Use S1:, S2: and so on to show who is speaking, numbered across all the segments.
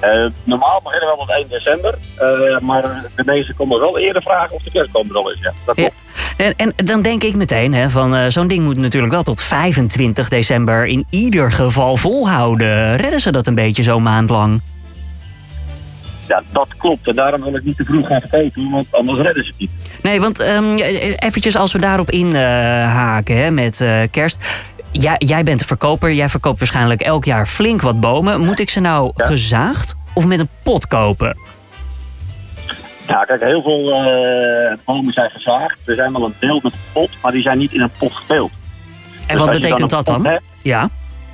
S1: Eh, normaal beginnen we rond 1 december. eh, maar de mensen komen wel eerder vragen of de kerstboom er al is. Ja, dat
S2: Ja.
S1: klopt.
S2: En, en dan denk ik meteen, hè, van eh, zo'n ding moet natuurlijk wel tot 25 december in ieder geval volhouden. Redden ze dat een beetje zo'n maand lang?
S1: Ja, dat klopt. En daarom wil ik niet te vroeg gaan vergeten, want anders redden ze het niet.
S2: Nee, want ehm, eventjes als we daarop inhaken hè, met eh, kerst. Jij, jij bent de verkoper, jij verkoopt waarschijnlijk elk jaar flink wat bomen. Moet ik ze nou
S1: Ja.
S2: gezaagd of met een pot kopen?
S1: Ja, kijk, heel veel eh, bomen zijn gezaagd. Er zijn wel een deel met een pot, maar die zijn niet in een pot geteeld. Dus
S2: En wat betekent dat dan? Ja,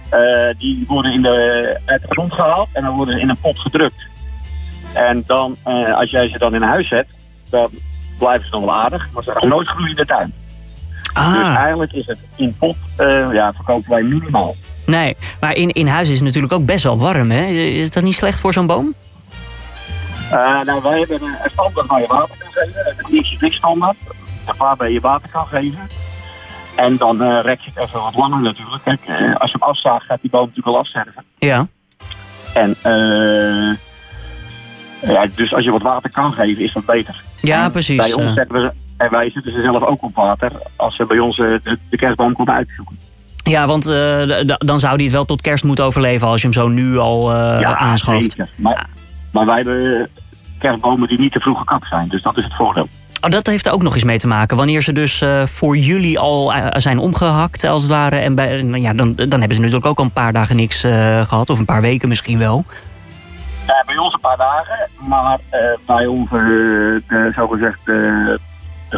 S1: Eh, die worden in de, uit de grond gehaald en dan worden ze in een pot gedrukt. En dan, eh, als jij ze dan in huis zet, dan blijven ze nog wel aardig, maar ze gaan nooit groeien in de tuin. Dus
S2: ah,
S1: eigenlijk is het in pot, eh, ja, verkopen wij minimaal.
S2: nee. Maar in, in huis is het natuurlijk ook best wel warm, hè? Is dat niet slecht voor zo'n boom?
S1: Eh, nou, wij hebben een een standaard waar je water kan geven, een niks standaard, waarbij je water kan geven. En dan eh rek je het even wat langer natuurlijk. Kijk, eh, als je hem afzaagt, gaat die boom natuurlijk al afsterven.
S2: Ja.
S1: En eh, ja, dus als je wat water kan geven, is dat beter.
S2: Ja,
S1: En
S2: precies,
S1: Bij ons
S2: eh.
S1: zetten we, en wij zetten ze zelf ook op water als ze bij ons eh, de, de kerstboom komen uitzoeken.
S2: Ja, want eh, d- d- dan zou die het wel tot kerst moeten overleven als je hem zo nu al eh, aanschaft.
S1: zeker. Maar, maar wij hebben kerstbomen die niet te vroeg gekapt zijn, dus dat is het voordeel.
S2: Oh, dat heeft er ook nog eens mee te maken. Wanneer ze dus eh, voor jullie al eh, zijn omgehakt, als het ware. En bij, nou ja, dan, dan hebben ze natuurlijk ook al een paar dagen niks eh, gehad. Of een paar weken misschien wel.
S1: Eh, bij ons een paar dagen, maar eh, bij onze, eh, de, zogezegd, eh, de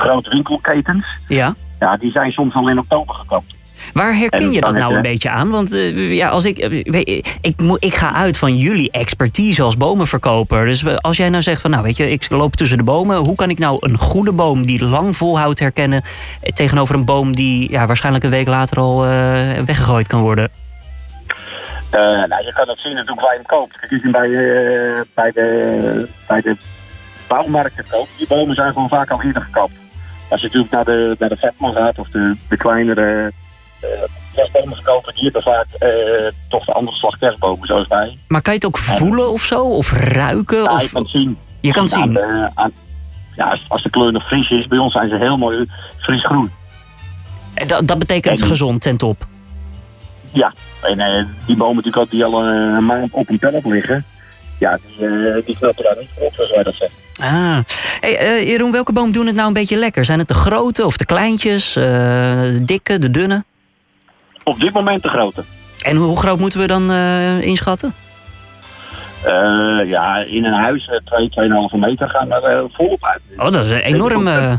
S1: grote winkelketens,
S2: Ja.
S1: ja, die zijn soms al in oktober gekapt.
S2: Waar herken
S1: En dan
S2: je dat
S1: heb
S2: nou
S1: je-
S2: een beetje aan? Want eh, ja, als ik, eh, weet- ik, moet- ik ga uit van jullie expertise als bomenverkoper. Dus eh, als jij nou zegt van, nou weet je, ik loop tussen de bomen. Hoe kan ik nou een goede boom die lang volhoudt herkennen... eh, tegenover een boom die ja, waarschijnlijk een week later al eh, weggegooid kan worden?
S1: Eh, nou, je kan dat zien natuurlijk waar je hem koopt. Kijk, als je hem bij, eh, bij, de, bij de bouwmarkten koopt, die bomen zijn gewoon vaak al eerder gekapt. Als je natuurlijk naar de, naar de vetman gaat of de, de kleinere eh, kerstbomen kopen, die hebben vaak eh, toch de andere slag kerstbomen, zoals wij.
S2: Maar kan je het ook voelen of zo? Of ruiken?
S1: Ja, Nou, je
S2: Of...
S1: kan het zien.
S2: Je kan het
S1: Aan
S2: zien.
S1: de- aan- ja, als, als de kleur nog fris is, bij ons zijn ze heel mooi frisgroen.
S2: Eh, Dat, dat betekent
S1: En-
S2: gezond ten top.
S1: Ja, en eh, die bomen natuurlijk ook die al eh, een maand op hun telp liggen, ja, die, eh die knappen daar niet op, zoals wij dat zeggen.
S2: Ah. Hey, eh, Jeroen, welke boom doen het nou een beetje lekker? Zijn het de grote of de kleintjes? eh, de dikke, de dunne?
S1: Op dit moment de grote.
S2: En hoe groot moeten we dan eh, inschatten?
S1: Eh, ja, in een huis eh, twee 2,5 meter gaan er eh, volop uit.
S2: Oh, dat is een enorm. eh,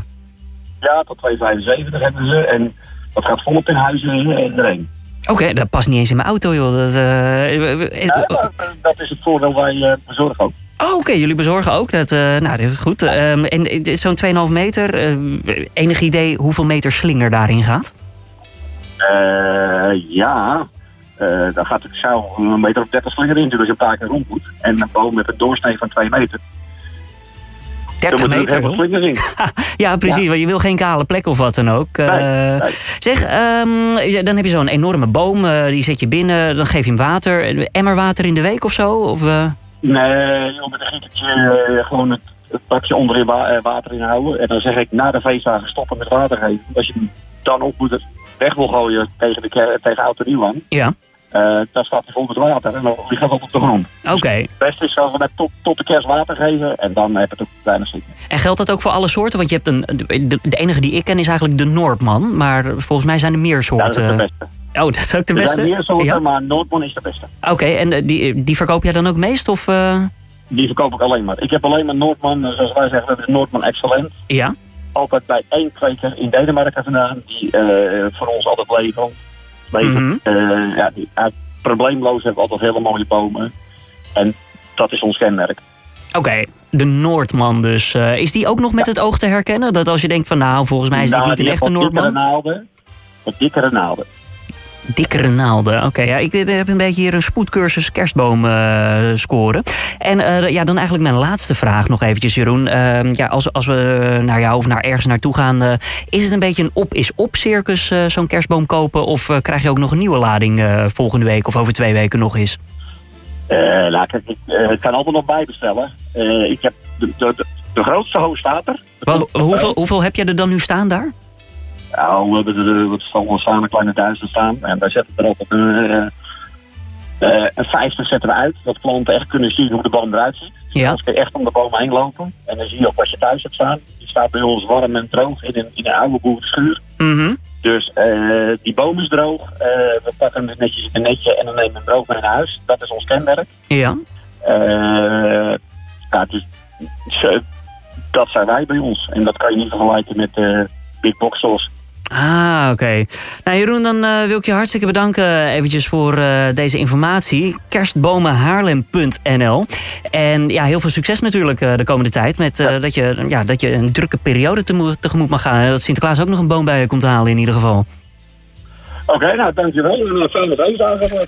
S1: Ja, tot 2,75 hebben ze. En dat gaat volop in huizen eh, erin.
S2: Oké, dat past niet eens in mijn auto, joh. Dat, eh, eh, eh,
S1: Ja, maar, eh, dat is het voordeel wij eh, bezorgen ook.
S2: oh, Oké, jullie bezorgen ook. Dat, eh, nou, dat is goed. Ehm, en eh, dit is zo'n 2,5 meter. eh, enig idee hoeveel meter slinger daarin gaat?
S1: Eh, ja, eh dan gaat het zo een meter of 30 slinger in natuurlijk als je een paar keer rond moet. En een boom met een doorsnee van 2 meter.
S2: 30
S1: moet er
S2: meter.
S1: heel veel
S2: joh.
S1: slingers in.
S2: Ja, precies. Want je wil geen kale plek of wat dan ook. Eh,
S1: Nee, nee.
S2: Zeg, ehm, ja, dan heb je zo'n enorme boom. eh, die zet je binnen. Dan geef je hem water. Een Emmer water in de week of zo? Of, eh,
S1: Nee, joh, met een gietertje eh, gewoon het, het bakje onderin wa- eh, water in houden. En dan zeg ik na de feestdagen stoppen met water geven. Als je hem dan op moet weg wil gooien tegen, de, ke- tegen oud en nieuw aan,
S2: ja,
S1: eh, dan staat hij vol met water en dan ligt dat op de grond. Dus
S2: oké.
S1: Het beste is gewoon net tot, tot de kerst water geven en dan heb je het ook bijna zin.
S2: En geldt dat ook voor alle soorten? Want je hebt een, de, de enige die ik ken is eigenlijk de Noordman. Maar volgens mij zijn er meer
S1: Ja, dat is
S2: soorten.
S1: het beste.
S2: oh, dat is ook de
S1: Er
S2: beste?
S1: zijn meer soorten,
S2: Ja?
S1: maar Noordman is de beste.
S2: Oké, en eh, die, die verkoop jij dan ook meest? Of, eh,
S1: Die verkoop ik alleen maar. Ik heb alleen maar Noordman, eh, zoals wij zeggen, dat is Noordman Excellent.
S2: ja?
S1: altijd bij één kweker in Denemarken vandaan, die eh, voor ons altijd leven. leven.
S2: Mhm.
S1: Eh, ja, die, eh, probleemloos hebben we altijd hele mooie bomen. En dat is ons kenmerk.
S2: Oké, de Noordman dus. Eh, is die ook nog met het oog te herkennen? Dat als je denkt van nou, volgens mij is dit
S1: Nou,
S2: niet
S1: die
S2: een
S1: heeft
S2: echte
S1: wat
S2: Noordman.
S1: Dikkere naalden, wat dikkere naalden.
S2: Dikkere naalden. Oké, ja, ik eh, heb een beetje hier een spoedcursus kerstboom eh, scoren. En eh, ja, dan eigenlijk mijn laatste vraag nog eventjes, Jeroen. Ehm, ja, als, als we naar jou of naar ergens naartoe gaan, eh, is het een beetje een op-is-op circus eh, zo'n kerstboom kopen? Of eh, krijg je ook nog een nieuwe lading eh, volgende week of over twee weken nog eens?
S1: Eh, nou, kijk, ik, eh, ik kan allemaal nog bijbestellen. Eh, ik heb de, de, de, de grootste hoos staat er.
S2: Wel, hoeveel, hoeveel heb jij er dan nu staan daar?
S1: Nou, we hebben er eh, wat staan, staan, een kleine duizend staan. En wij zetten er altijd een, eh, eh, een vijftig zetten we uit. Dat klanten echt kunnen zien hoe de boom eruit ziet.
S2: Ja.
S1: Als we echt om de bomen heen lopen. En dan zie je ook wat je thuis hebt staan. Die staat bij ons warm en droog in een, in een oude boerenschuur.
S2: Mhm.
S1: Dus eh, die boom is droog. Eh, we pakken hem netjes in een netje en dan nemen we hem droog mee naar huis. Dat is ons kenmerk.
S2: Ja.
S1: Eh, ja, dus, zo- dat zijn wij bij ons. En dat kan je niet vergelijken met eh big box stores.
S2: Ah, oké. Nou, Jeroen, dan eh, wil ik je hartstikke bedanken eventjes voor eh, deze informatie. Kerstbomenhaarlem.nl En ja, heel veel succes natuurlijk eh, de komende tijd. Met eh, dat, je, ja, dat je een drukke periode temo- tegemoet mag gaan. En dat Sinterklaas ook nog een boom bij je komt halen in ieder geval.
S1: Oké, nou dankjewel. En dan zijn we het eens aangevallen.